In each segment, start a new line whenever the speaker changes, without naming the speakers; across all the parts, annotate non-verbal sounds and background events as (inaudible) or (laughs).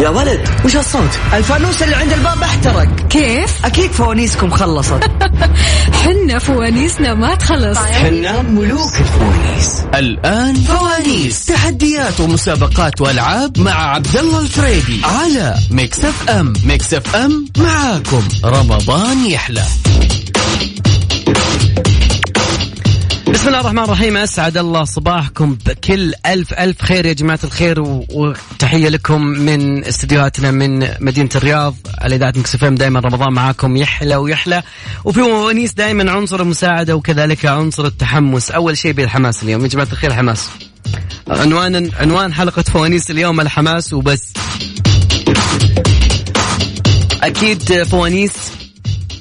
يا ولد وش هالصوت؟
الفانوس اللي عند الباب احترق
كيف؟
اكيد فوانيسكم خلصت
حنا فوانيسنا ما تخلص
حنا ملوك الفوانيس الآن فوانيس تحديات ومسابقات وألعاب مع عبد الله الفريدي على ميكس اف ام ميكس اف ام معاكم رمضان يحلى
بسم الله الرحمن الرحيم اسعد الله صباحكم بكل الف الف خير يا جماعه الخير و- وتحيه لكم من استديوهاتنا من مدينه الرياض على اذاعه مكسفهم دائما رمضان معاكم يحلى ويحلى وفي ونيس دائما عنصر المساعده وكذلك عنصر التحمس اول شيء بالحماس اليوم يا جماعه الخير حماس عنوان عنوان حلقه فوانيس اليوم الحماس وبس اكيد فوانيس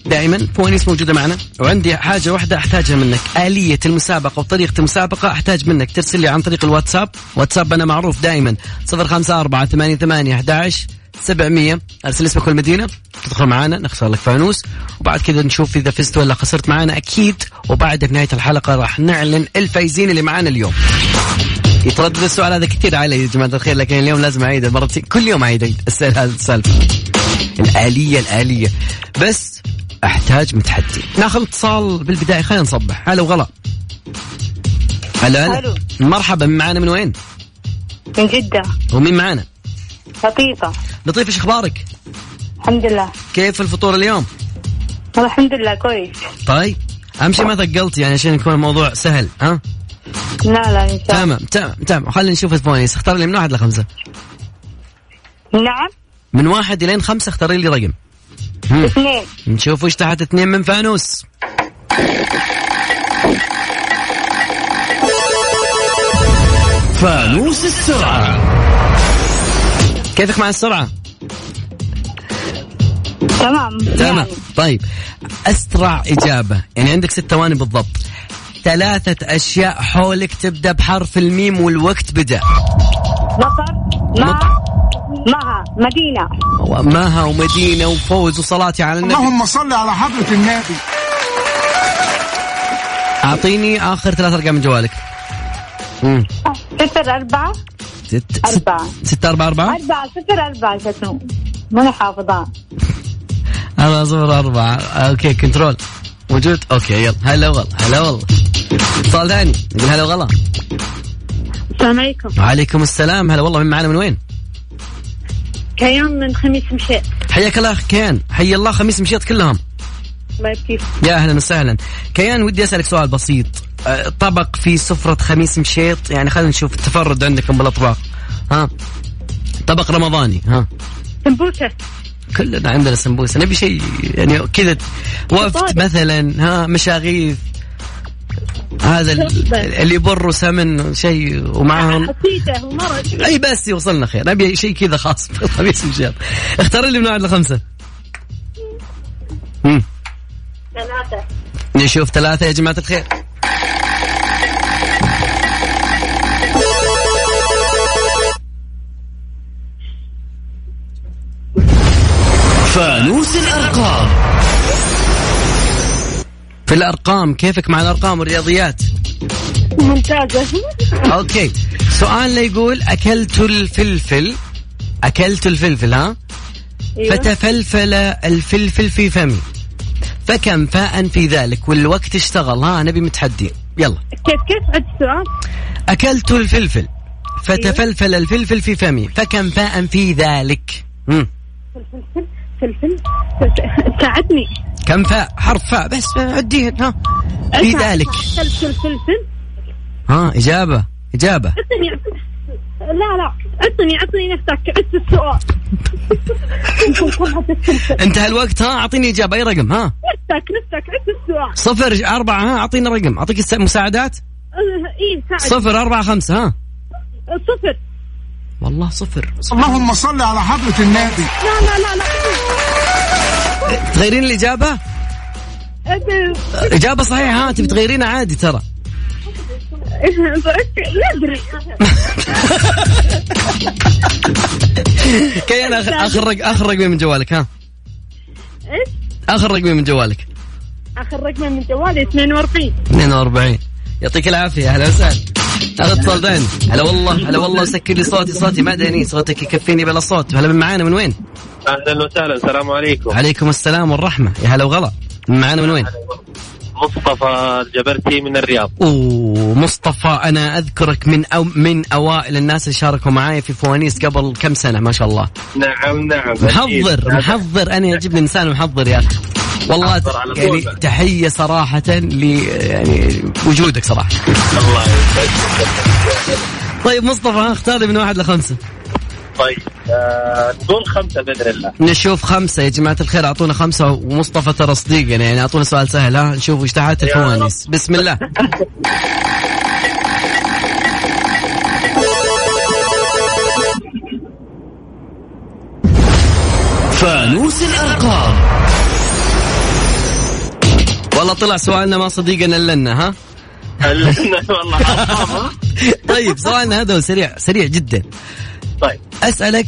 دائما فوانيس موجوده معنا وعندي حاجه واحده احتاجها منك اليه المسابقه وطريقه المسابقه احتاج منك ترسل لي عن طريق الواتساب واتساب انا معروف دائما 054 ارسل اسمك والمدينه تدخل معنا نختار لك فانوس وبعد كذا نشوف اذا فزت ولا خسرت معنا اكيد وبعد نهايه الحلقه راح نعلن الفايزين اللي معنا اليوم يتردد السؤال هذا كثير علي يا جماعه الخير لكن اليوم لازم اعيده مرتين كل يوم اعيد أعيد السؤال هذا السالفه الآلية الآلية بس أحتاج متحدي ناخذ اتصال بالبداية خلينا نصبح هلا وغلا هلا هلا
ألو.
مرحبا من معانا من وين؟
من جدة
ومين معانا؟
لطيفة
لطيف ايش اخبارك؟
الحمد لله
كيف الفطور اليوم؟
والله الحمد لله كويس
طيب اهم شيء ما ثقلت يعني عشان يكون الموضوع سهل ها؟
لا لا إن شاء الله
تمام تمام تمام خلينا نشوف الفوانيس اختار لي من واحد لخمسة
نعم
من واحد الين خمسة اختاري لي رقم مم.
اثنين
نشوف وش تحت اثنين من فانوس
فانوس السرعة
كيفك مع السرعة؟
تمام
تمام
يعني.
طيب اسرع اجابه يعني عندك ست ثواني بالضبط ثلاثة أشياء حولك تبدأ بحرف الميم والوقت بدأ
مطر مع معها مدينة
ماها ومدينة وفوز وصلاتي على النبي
اللهم صل على حضرة النبي
أعطيني آخر ثلاث أرقام من جوالك مم.
صفر أربعة
ست ست-
أربعة.
ستة أربعة أربعة
أربعة صفر أربعة شنو ماني حافظة
أربعة صفر أربعة أوكي كنترول موجود أوكي يلا هلا والله هلا والله اتصال ثاني نقول هلا والله
السلام عليكم
وعليكم السلام هلا والله من معنا من وين؟
كيان من خميس مشيت
حياك الله كيان حيا الله خميس مشيط كلهم
الله يبكيك
يا اهلا وسهلا كيان ودي اسالك سؤال بسيط أه، طبق في سفرة خميس مشيط يعني خلينا نشوف التفرد عندكم بالاطباق ها طبق رمضاني ها
سمبوسة
كلنا عندنا سمبوسه نبي شيء يعني كذا وفت
طارق.
مثلا ها مشاغيث هذا ال-
طيب.
اللي يبر سمن شيء ومعهم
حسيته ومرض
اي بس يوصلنا خير نبي شيء كذا خاص (laughs) طيب بالخميس مشيط اختار لي من واحد لخمسه مم.
ثلاثة
نشوف ثلاثة يا جماعة الخير
فانوس الأرقام
في الارقام كيفك مع الارقام والرياضيات
ممتازة
اوكي سؤالنا يقول اكلت الفلفل اكلت الفلفل ها
أيوه.
أيوة.
فتفلفل الفلفل في فمي فكم فاء في ذلك والوقت اشتغل ها نبي متحدي يلا
كيف كيف عد السؤال
اكلت الفلفل فتفلفل الفلفل في فمي فكم فاء في ذلك مم.
فلفل فلفل فلفل. ساعدني
كم فاء حرف فاء بس عديهن ها في
أساعد.
إيه ذلك
فلفل فلفل
ها اجابه اجابه
عطني عطني. لا لا عطني عطني نفسك عد السؤال يمكن كلها تتفلفل
انتهى الوقت ها اعطيني اجابه اي رقم ها
نفسك نفسك عد السؤال
صفر أربعة ها أعطينا رقم أعطيك الس- مساعدات
اه، ايه ساعد
صفر أربعة خمسة ها
صفر
والله صفر
اللهم صل على حضرة النبي
لا لا لا لا
تغيرين الإجابة
اه،
إجابة صحيحة ها تبي تغيرينها عادي ترى
اه، بركة. ما ادري
كيان آخر- آخر رق- آخر رقمين من جوالك ها
ايش؟
آخر رقمين من جوالك
اخر رقم من جوالي 42
42 يعطيك العافية أهلا وسهلا هذا اتصال ثاني هلا والله هلا والله سكر لي صوتي صوتي مدني صوتك يكفيني بلا صوت هلا من معانا من وين؟
اهلا وسهلا السلام عليكم
عليكم السلام والرحمة يا هلا وغلا من معانا من وين؟
مصطفى الجبرتي من الرياض
ومصطفى انا اذكرك من أو من اوائل الناس اللي شاركوا معاي في فوانيس قبل كم سنه ما شاء الله
نعم نعم أكيد.
محضر محضر انا يعجبني انسان محضر يا اخي والله
محضر على طول
يعني
بقى.
تحيه صراحه ل يعني وجودك صراحه
الله يسعدك
طيب مصطفى ها، اختار لي من واحد لخمسه
طيب آه، نقول خمسه باذن الله (laughs)
نشوف خمسه يا جماعه الخير اعطونا خمسه ومصطفى ترى صديقنا يعني اعطونا سؤال سهل ها نشوف وش تحت الفوانيس بسم الله
فانوس الأرقام
والله طلع سؤالنا ما صديقنا الا لنا ها
هلا- والله عظام، ها؟
طيب سؤالنا هذا هو سريع سريع جدا
طيب
أسألك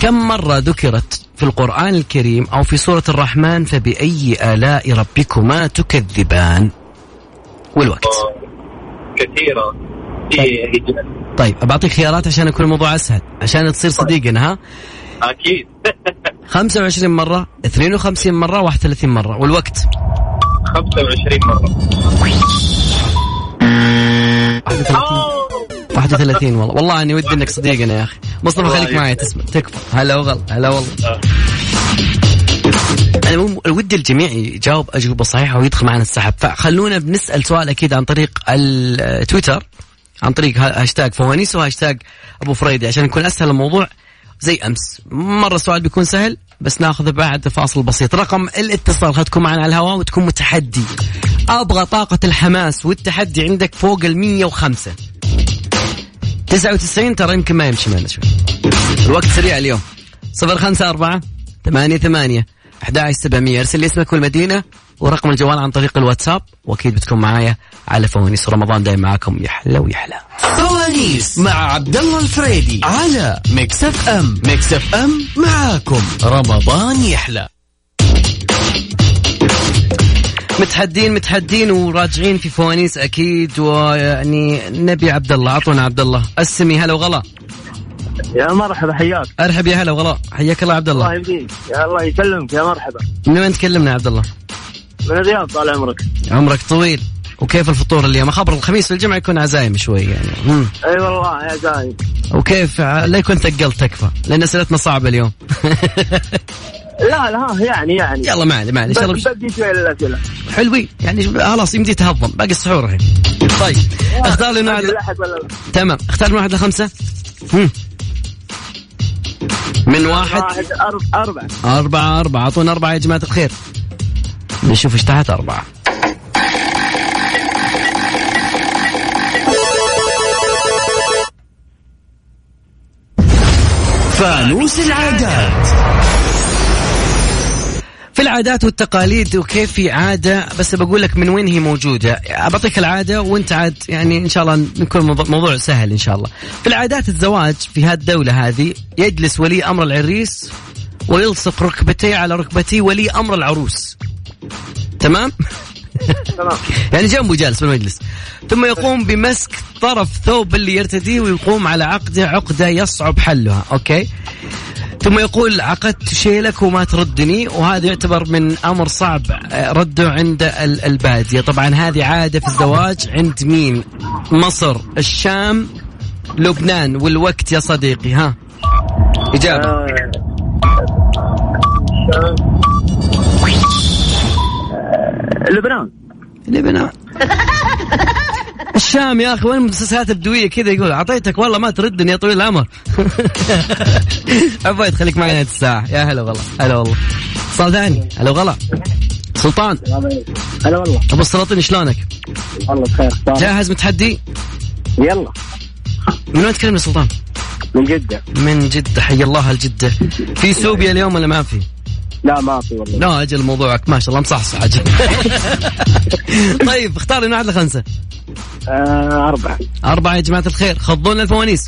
كم مرة ذكرت في القرآن الكريم أو في سورة الرحمن فبأي آلاء ربكما تكذبان والوقت
آه، كثيره في رجال.
طيب أبعطيك خيارات عشان يكون الموضوع أسهل عشان تصير صديقنا ها
(laughs) اكيد
25 مرة 52 مرة 31 مرة والوقت
25 مره
31 31 والله والله أني ودي أنك صديقنا يا أخي مصطفى خليك معي تسمع تكفى هلا وغلا هلا والله انا مو- ودي الجميع يجاوب اجوبه صحيحه ويدخل معنا السحب فخلونا بنسال سؤال اكيد عن طريق التويتر عن طريق ها- هاشتاج فوانيس وهاشتاج ابو فريدي عشان يكون اسهل الموضوع زي امس مره السؤال بيكون سهل بس ناخذه بعد فاصل بسيط رقم الاتصال خدكم معنا على الهواء وتكون متحدي ابغى طاقه الحماس والتحدي عندك فوق ال 105 99 ترى يمكن ما يمشي معنا شوي الوقت سريع اليوم صفر خمسة أربعة ثمانية ثمانية أحد سبعمية أرسل لي اسمك والمدينة ورقم الجوال عن طريق الواتساب وأكيد بتكون معايا على فوانيس رمضان دايم معاكم يحلى ويحلى
فوانيس مع عبد الله الفريدي على ميكس اف ام ميكس اف ام معاكم رمضان يحلى
متحدين متحدين وراجعين في فوانيس أكيد ويعني نبي عبد الله أعطونا عبد الله السمي هلا وغلا
يا مرحبا حياك
أرحب يا هلا وغلا حياك الله عبد الله
يهديك يا الله يسلمك يا مرحبا
من وين تكلمنا يا عبد الله
من الرياض طال عمرك
عمرك طويل وكيف الفطور اليوم خبر الخميس والجمعة يكون عزايم شوي يعني مم.
اي والله يا زايد
وكيف لا يكون ثقل تكفى لان اسئلتنا صعبه اليوم (laughs)
لا لا يعني يعني
يلا معلي معلي
بس
ان شاء الله
بدي شوي الاسئله
مش- حلوين يعني شوف- خلاص يمدي تهضم باقي السحور الحين طيب اختار لي نوع
الواحد ولا لا؟
تمام اختار من واحد لخمسه مم. من واحد
واحد أرب- اربع
أربعة أربعة أعطونا أربعة يا جماعة الخير نشوف ايش تحت أربعة
فانوس العادات
في العادات والتقاليد وكيف في عادة بس بقول لك من وين هي موجودة أعطيك العادة وانت عاد يعني إن شاء الله نكون موضوع- موضوع سهل إن شاء الله في العادات الزواج في هالدولة هذه يجلس ولي أمر العريس ويلصق ركبتيه على ركبتي ولي أمر العروس تمام؟
تمام
(laughs) يعني جنبه جالس بالمجلس ثم يقوم بمسك طرف ثوب اللي يرتديه ويقوم على عقده عقده يصعب حلها اوكي ثم يقول عقدت شيلك وما تردني وهذا يعتبر من امر صعب آه، رده عند ال- الباديه طبعا هذه عاده في الزواج عند مين مصر الشام لبنان والوقت يا صديقي ها اجابه
آه، لبنان
لبنان الشام يا اخي وين المؤسسات البدويه كذا يقول اعطيتك والله ما تردني يا طويل العمر (laughs) عبيد خليك معي نهايه الساعه يا هلا والله هلا والله اتصال ثاني هلا والله سلطان
هلا والله
ابو السلاطين شلونك؟
والله بخير
جاهز متحدي؟
يلا
من وين تكلمنا سلطان؟
من جدة
من جدة حي الله الجدة في سوبيا اليوم ولا ما في؟
لا ما في والله
لا اجل موضوعك ما شاء الله مصحصح اجل (laughs) طيب اختار لنا واحد لخمسة
آه أربعة
أربعة يا جماعة الخير خضونا الفوانيس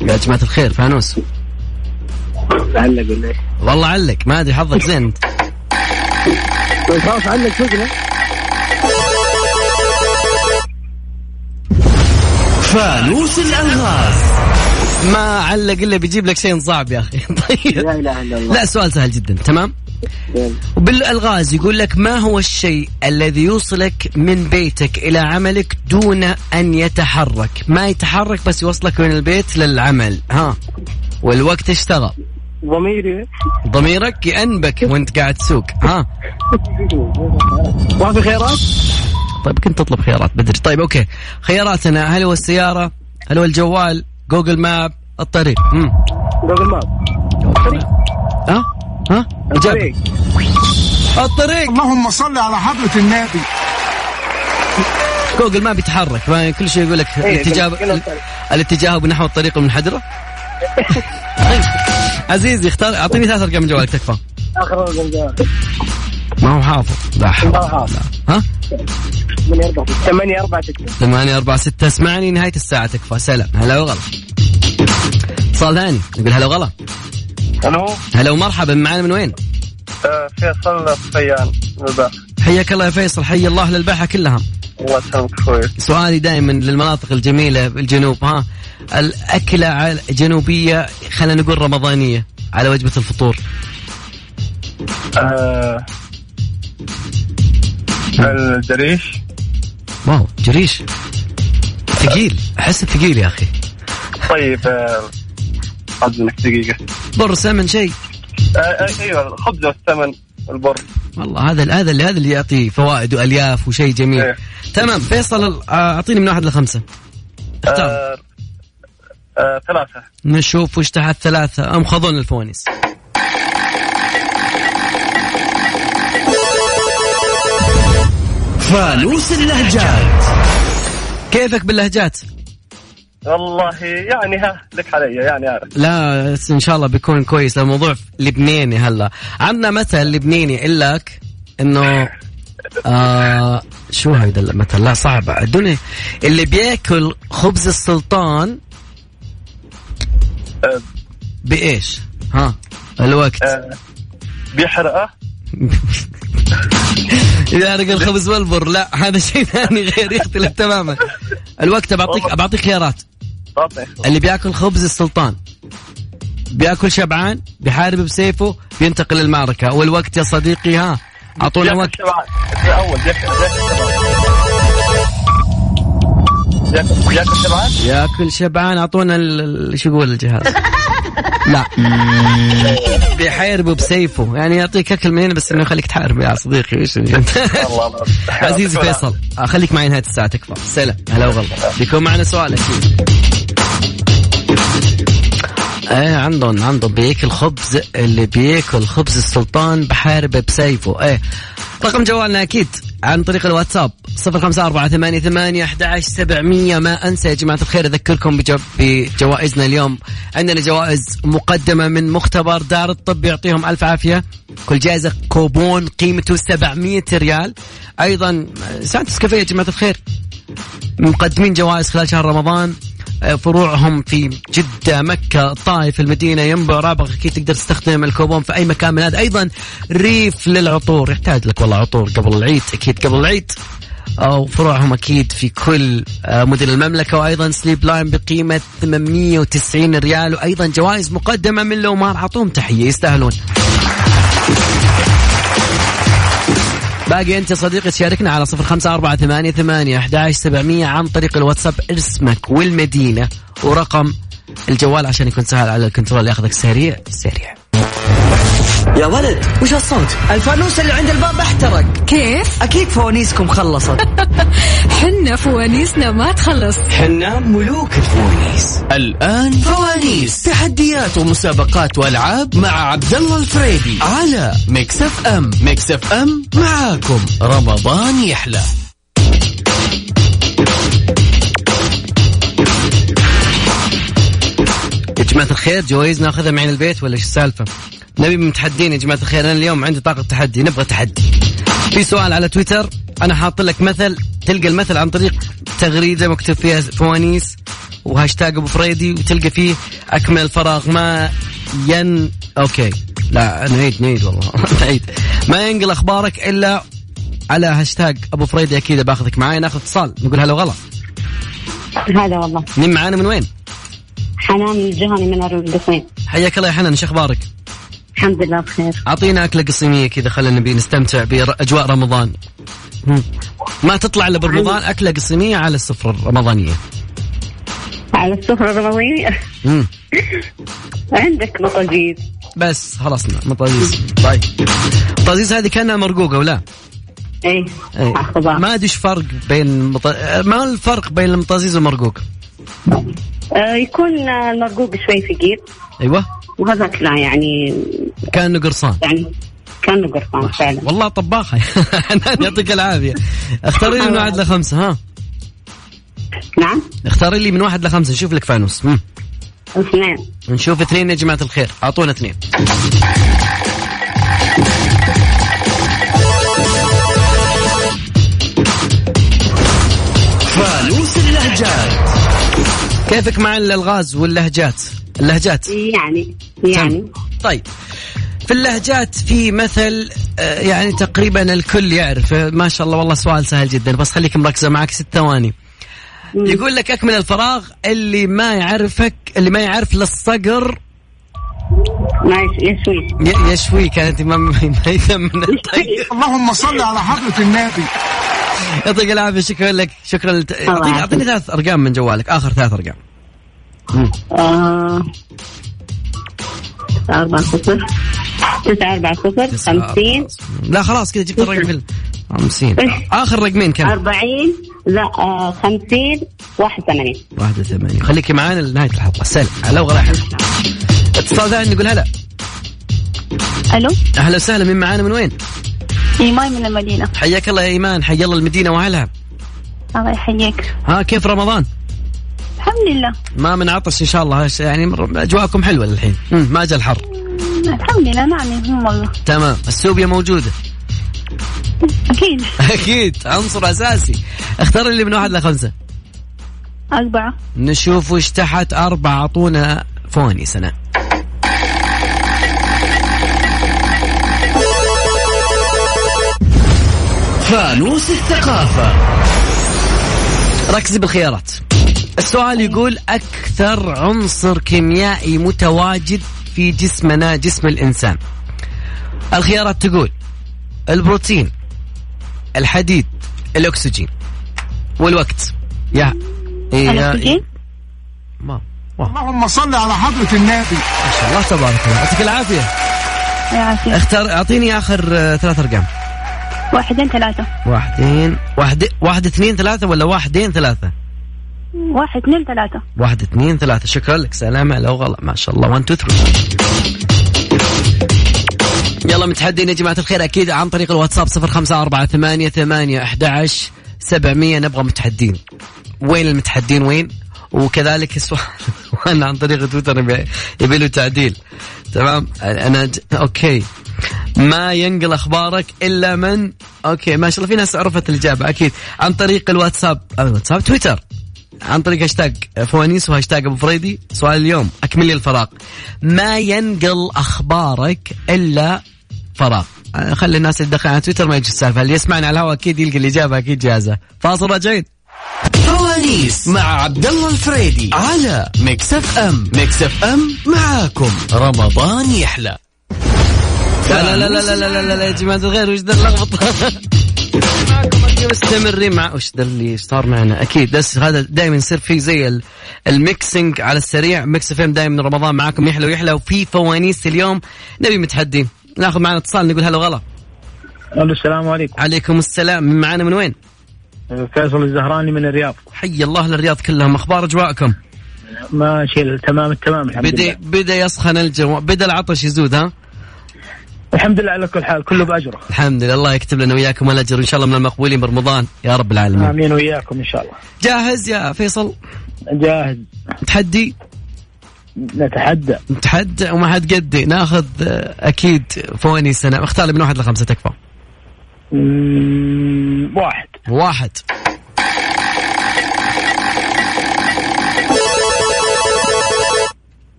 يا جماعة الخير فانوس
علق ولا إيش؟
والله علق ما ادري حظك زين انت
طيب،
ويخاف عنك شغله
فانوس الالغاز
ما علق الا بيجيب لك شيء صعب يا اخي
يعني
لا
(laughs) طيب
اله الا الله
لا سؤال سهل جدا تمام وبالالغاز يقول لك ما هو الشيء الذي يوصلك من بيتك الى عملك دون ان يتحرك ما يتحرك بس يوصلك من البيت للعمل ها والوقت اشتغل
ضميري
ضميرك يأنبك وانت قاعد تسوق ها
ما في خيارات؟
طيب كنت تطلب خيارات بدري طيب اوكي خياراتنا هل هو السيارة هل هو الجوال جوجل ماب الطريق مم.
جوجل ماب
ها ها
الطريق.
إجابة الطريق
اللهم صل على حضرة النبي
جوجل ماب يتحرك ما كل شيء يقول لك
كله
الاتجاه
الطريق.
الاتجاه نحو الطريق المنحدرة طيب. عزيزي اختار اعطيني ثلاث ارقام من جوالك تكفى
اخر رقم جوال
ما هو حافظ لا حول
ما حافظ.
لا. ها
8 4 8 4 6
ثمانية أربعة ستة اسمعني نهاية الساعة تكفى سلام هلا وغلا اتصال ثاني نقول هلا وغلا
الو
هلا ومرحبا معنا من وين؟
آه، فيصل الصيان من البحر
حياك الله يا فيصل حي الله أهل الباحة كلها
الله يسلمك اخوي
سؤالي دائما للمناطق الجميلة بالجنوب ها الأكلة عال- جنوبية خلينا نقول رمضانية على وجبة الفطور
آه، الجريش
واو جريش ثقيل أحس ثقيل يا أخي
طيب آه، اذنك دقيقه
بر سمن شيء
آه، آه، ايوه الخبز والثمن والبر
والله هذا هذا اللي هذا اللي يعطي فوائد والياف وشيء جميل
إيه.
تمام فيصل آه، اعطيني من واحد لخمسه اختار
آه، آه، ثلاثه
نشوف وش تحت ثلاثة أم خضون الفوانيس
فانوس اللهجات
كيفك باللهجات؟
والله يعني ها لك علي يعني عارف
لا بس إن شاء الله بيكون كويس الموضوع لبناني هلا عندنا مثل لبناني يقول لك إنه آه شو هيدا المثل لا صعب الدنيا اللي بياكل خبز السلطان
آه،
بإيش؟ ها الوقت
آه، بيحرقه
يحرق الخبز والبر لا هذا شيء ثاني غير يختلف تماما الوقت بعطيك بعطيك خيارات
طاطي
اللي بياكل خبز السلطان بياكل شبعان بيحارب بسيفه بينتقل للمعركة والوقت يا صديقي ها أعطونا وقت
اول بياكل بياكل بياكل سبعات
ياكل شبعان أعطونا ال- ال- شو يقول الجهاز لا بيحاربه بسيفه يعني يعطيك أكل من هنا بس إنه يخليك تحارب يا صديقي إيش
الله الله
(laughs) عزيزي فيصل خليك معي نهاية الساعة تكفى سلام هلا وغلا بيكون معنا سؤال أكيد ايه عندهم عندهم بياكل خبز اللي بياكل خبز السلطان بحاربه بسيفه ايه رقم جوالنا اكيد عن طريق الواتساب 0548811700 ما انسى يا جماعه الخير اذكركم بجو- بجوائزنا اليوم عندنا جوائز مقدمه من مختبر دار الطب يعطيهم الف عافيه كل جائزه كوبون قيمته 700 ريال ايضا سانتس كافيه يا جماعه الخير مقدمين جوائز خلال شهر رمضان آه، فروعهم في جدة مكة الطائف المدينة ينبع رابغ أكيد تقدر تستخدم الكوبون في أي مكان من هذا أيضا ريف للعطور يحتاج لك والله عطور قبل العيد أكيد قبل العيد أو فروعهم أكيد في كل آه، مدن المملكة وأيضا سليب لاين بقيمة 890 ريال وأيضا جوائز مقدمة من لومار عطوهم تحية يستاهلون باقي انت يا صديقي تشاركنا على صفر خمسة أربعة ثمانية ثمانية أحداش سبعمية عن طريق الواتساب اسمك والمدينة ورقم الجوال عشان يكون سهل على الكنترول ياخذك سريع سريع
يا ولد وش الصوت؟ الفانوس اللي عند الباب احترق
كيف
اكيد فوانيسكم خلصت
حنا فوانيسنا ما تخلص
حنا ملوك الفوانيس الآن فوانيس تحديات ومسابقات وألعاب مع عبد الله الفريدي على ميكس اف ام ميكس اف ام معاكم رمضان يحلى
يا جماعة الخير جوائز ناخذها معين البيت ولا ايش السالفة؟ نبي متحدين يا جماعة الخير أنا اليوم عندي طاقة تحدي نبغى تحدي في سؤال على تويتر أنا حاط لك مثل تلقى المثل عن طريق تغريدة مكتوب فيها فوانيس وهاشتاج أبو فريدي وتلقى فيه أكمل الفراغ ما ين أوكي لا نعيد نعيد والله (laughs) نعيد ما ينقل اخبارك الا على هاشتاج ابو فريدي اكيد باخذك معاي ناخذ اتصال نقول هلا وغلا
هذا والله
مين معانا من وين؟
حنان الجهني من القصيم
حياك الله يا حنان ايش اخبارك؟
الحمد لله بخير
اعطينا اكله قصيميه كذا خلينا نبي نستمتع باجواء رمضان مم. ما تطلع الا برمضان اكله قصيميه على السفره الرمضانيه
على السفرة الرمضانية
مم.
عندك مطاجيز
بس خلصنا مطازيز طيب مطازيز هذه كانها مرقوقه ولا؟
ايه
إيه.
أخضر.
ما ادري ايش فرق بين مط... ما الفرق بين المطازيز والمرقوق؟
آه، يكون آه، المرقوق شوي ثقيل
ايوه
وهذاك لا يعني
كانه قرصان
يعني كانه قرطان فعلا
والله (laughs) طباخه حنان يعطيك العافيه اختاري لي من واحد لخمسه ها
نعم
اختاري لي من واحد لخمسه نشوف لك فانوس مم.
اثنين
نشوف اثنين يا جماعة الخير أعطونا اثنين
فانوس اللهجات
كيفك مع الألغاز واللهجات اللهجات
يعني يعني
طيب في اللهجات في مثل آه، يعني تقريبا الكل يعرف آه، ما شاء الله والله سؤال سهل جدا بس خليك مركزة معك ست ثواني يقول لك أكمل الفراغ اللي ما يعرفك اللي ما يعرف للصقر
ما يش- يشوي
ي- يشوي كانت ما ما ما
(laughs)
يثمن الطيب.
اللهم صل على حضرة النبي
يعطيك العافية شكرا لك شكرا لت... أعطيني
يعافيك.
أعطيني ثلاث أرقام من جوالك آخر ثلاث أرقام
آه، تسعة أربعة صفر تسعة أربعة صفر خمسين
لا آه، خلاص كذا جبت الرقم في ال- 50 اخر رقمين كم؟
أربعين لا آه، خمسين واحد وثمانين
81 خليكي معانا لنهايه الحلقه سلام هلا وغلا حلو. اتصال ثاني نقول هلا
الو
اهلا وسهلا من معانا من وين؟
ايمان من المدينه
حياك الله يا ايمان حيا الله المدينه واهلها
الله يحييك
ها كيف رمضان؟
الحمد لله
ما من عطش ان شاء الله هش- يعني مر- اجواءكم حلوه للحين مم، ما جا الحر
الحمد لله نعم هم والله
تمام السوبيا موجوده
اكيد
اكيد عنصر اساسي اختار اللي من واحد لخمسه
اربعه
نشوف وش تحت أربعة أعطونا فوني سنة
فانوس الثقافة
ركزي بالخيارات السؤال يقول أكثر عنصر كيميائي متواجد في جسمنا جسم الإنسان الخيارات تقول البروتين الحديد الأكسجين والوقت يا إيه
الأكسجين؟
ما ما
اللهم صل على حضرة النبي
شاء الله تبارك الله يعطيك العافية
يعافيك
(laughs)
اختار أعطيني آخر آه، ثلاث أرقام
واحدين ثلاثه
واحدين واحد واحد اثنين ثلاثة ولا واحدين ثلاثة
واحد اثنين ثلاثه
واحد اثنين ثلاثة شكرا لك سلامة لو غلط ما شاء الله 1 2 3 يلا متحدين يا جماعة الخير أكيد عن طريق الواتساب 054 ثمانية 11 700 نبغى متحدين وين المتحدين وين وكذلك السؤال وانا عن طريق تويتر يبي- يبي له تعديل تمام انا ج... اوكي ما ينقل اخبارك الا من اوكي ما شاء الله في ناس عرفت الاجابه اكيد عن طريق الواتساب أو الواتساب تويتر عن طريق هاشتاج فوانيس وهاشتاج ابو فريدي سؤال اليوم اكمل لي الفراغ ما ينقل اخبارك الا فراغ أنا خلي الناس اللي تدخل على تويتر ما يجي السالفه اللي يسمعنا على الهواء اكيد يلقى الاجابه اكيد جاهزه فاصل راجعين
فوانيس مع عبد الله الفريدي على ميكس اف ام ميكس اف ام معاكم رمضان يحلى
لا لا لا لا لا لا لا, لا يا جماعة الخير وش ذا (laughs) اللخبطة؟ معكم أكيد مستمرين مع وش ذا اللي صار معنا اكيد بس هذا دائما يصير في زي ال- الميكسينج على السريع ميكس اف ام دائما رمضان معاكم يحلى ويحلى وفي فوانيس اليوم نبي متحدين ناخذ معنا اتصال نقول هلا وغلا
الو السلام عليكم
عليكم السلام من معانا من وين؟
فيصل الزهراني من الرياض
حي الله للرياض كلهم اخبار اجواءكم
ما شيل تمام التمام الحمد
بدا
لله
بدا يسخن الجو بدا العطش يزود ها
الحمد لله على كل حال كله باجره
الحمد لله الله يكتب لنا وياكم الاجر ان شاء الله من المقبولين برمضان يا رب العالمين
امين وياكم ان شاء الله
جاهز يا فيصل
جاهز
تحدي
نتحدى
نتحدى وما حد قدي ناخذ آه، اكيد فواني سنه اختار لي من واحد لخمسه تكفى
مم، واحد
واحد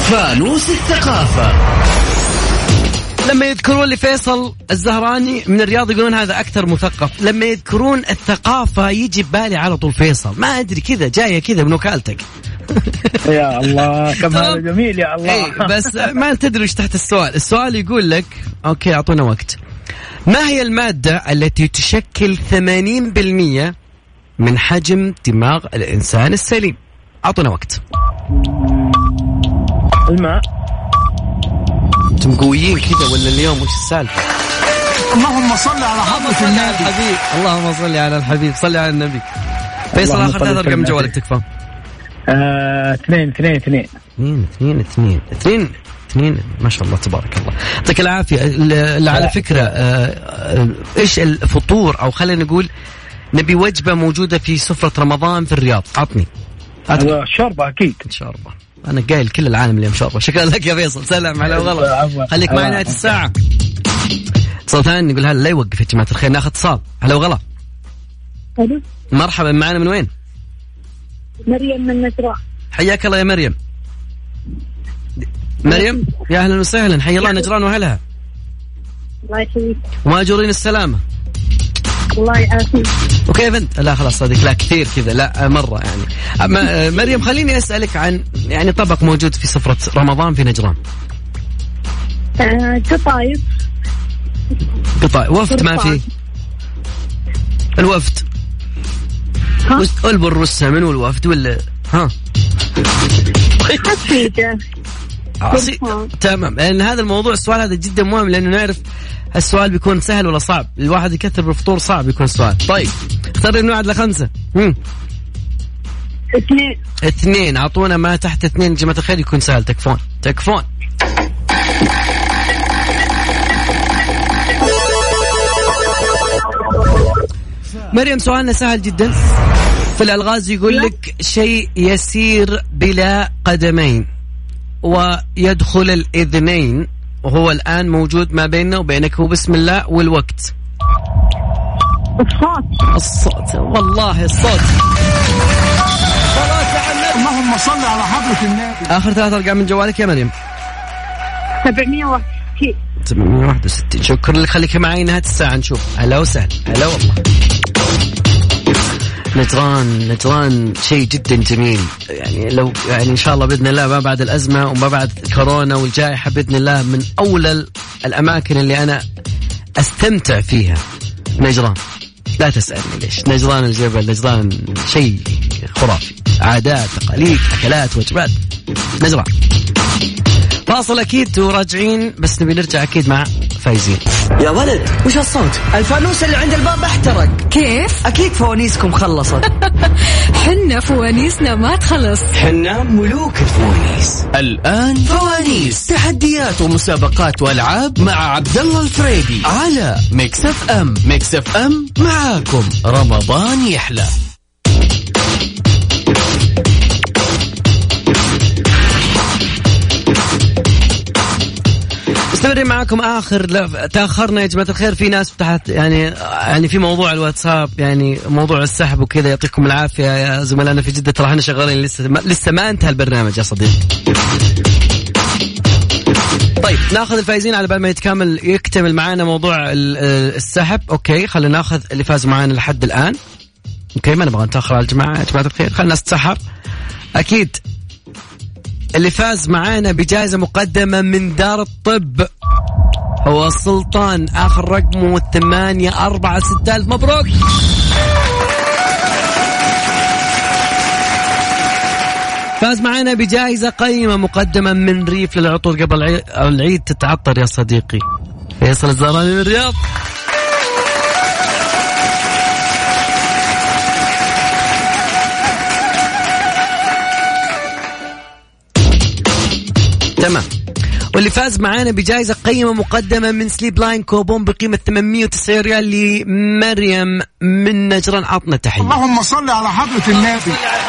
فانوس الثقافة
لما يذكرون لفيصل الزهراني من الرياض يقولون هذا اكثر مثقف لما يذكرون الثقافه يجي ببالي على طول فيصل ما ادري كذا جايه كذا من وكالتك
يا الله كم هذا
تمام.
جميل يا الله
اي إيه، بس ما تدري ايش تحت السؤال السؤال يقول لك اوكي اعطونا وقت ما هي الماده التي تشكل 80% من حجم دماغ الانسان السليم اعطونا وقت
الماء
انتم قويين كذا ولا اليوم وش السالفه
اللهم صل على حضرة
صل على
النبي
الحبيب اللهم صل على الحبيب صل على النبي فيصل
اللهم
اخر
صل
ثلاث ارقام
وسلم
من جوالك
عليه.
تكفى
آه، اثنين اثنين اثنين
اثنين اثنين اثنين اثنين اثنين ما شاء الله تبارك الله يعطيك العافيه ال- ال- على فكره آه، آه، ايش الفطور او خلينا نقول نبي وجبه موجوده في سفره رمضان في الرياض عطني عطني
هذا شوربه اكيد
ان شاء الله انا قايل كل العالم اليوم شاء الله شكرا لك يا فيصل سلام على
عفواً.
وغلا خليك معنا نهايه الساعه اتصال ثاني نقول هلا لا يوقف يا جماعه الخير ناخذ اتصال هلا وغلا
ألو
مرحبا معنا من وين؟
مريم من نجراح
حياك الله يا مريم مريم يا اهلا وسهلا حيا الله نجران واهلها
الله يحييك
واجرين السلامه
الله يعافيك
وكيف انت؟ لا خلاص صديق لا كثير كذا لا مره يعني اما آه، مريم خليني اسالك عن يعني طبق موجود في سفره رمضان في نجران
آه، قطايف (laughs)
قطع وفد ما في الوفد
ها؟
وس- البر والسمن والوفد ولا ها
حسيجة
عصي...
بالفعل.
آه، تمام لان هذا الموضوع السؤال هذا جدا مهم لانه نعرف السؤال بيكون سهل ولا صعب الواحد يكثر بالفطور صعب يكون السؤال طيب اختار من واحد لخمسه مم.
اثنين
اثنين اعطونا ما تحت اثنين يا جماعه الخير يكون سهل تكفون تكفون مريم سؤالنا سهل جدا في الالغاز يقول لك شيء يسير بلا قدمين ويدخل الاذنين وهو الان موجود ما بيننا وبينك هو بسم الله والوقت
الصوت
الصوت والله الصوت
اللهم صل على حضرة النبي
اخر ثلاث ارقام من جوالك يا مريم
761
861 شكرا لك خليك معي نهايه الساعه نشوف هلا وسهلا هلا والله نجران نجران شيء جدا جميل يعني لو يعني ان شاء الله باذن الله ما بعد الازمه وما بعد كورونا والجائحه باذن الله من اولى الاماكن اللي انا استمتع فيها نجران لا تسالني ليش نجران الجبل نجران شيء خرافي عادات تقاليد اكلات وجبات نجران فاصل اكيد وراجعين بس نبي نرجع اكيد مع فايزين
يا ولد وش الصوت الفانوس اللي عند الباب احترق
كيف
اكيد فوانيسكم خلصت
حنا فوانيسنا ما تخلص
حنا ملوك الفوانيس الآن فوانيس تحديات ومسابقات وألعاب مع عبد الله الفريدي على ميكس اف ام ميكس اف ام معاكم رمضان يحلى
مستمرين معاكم اخر لا تاخرنا يا جماعه الخير في ناس فتحت يعني يعني في موضوع الواتساب يعني موضوع السحب وكذا يعطيكم العافيه يا زملائنا في جده ترى احنا شغالين لسه ما لسه ما انتهى البرنامج يا صديقي. طيب ناخذ الفائزين على بال ما يتكامل يكتمل معانا موضوع ال- ال- السحب اوكي خلينا ناخذ اللي فاز معانا لحد الان اوكي ما نبغى نتاخر على الجماعه يا جماعه الخير خلينا نتسحر اكيد اللي فاز معانا بجائزه مقدمه من دار الطب هو سلطان اخر رقمه 8 4 6 الف مبروك فاز معانا بجائزة قيمة مقدمة من ريف للعطور قبل العي- العيد تتعطر يا صديقي فيصل الزهراني من الرياض تمام واللي فاز معانا بجائزة قيمة مقدمة من سليب لاين كوبون بقيمة 890 ريال لمريم من نجران عطنا تحية
اللهم صل على حضرة النبي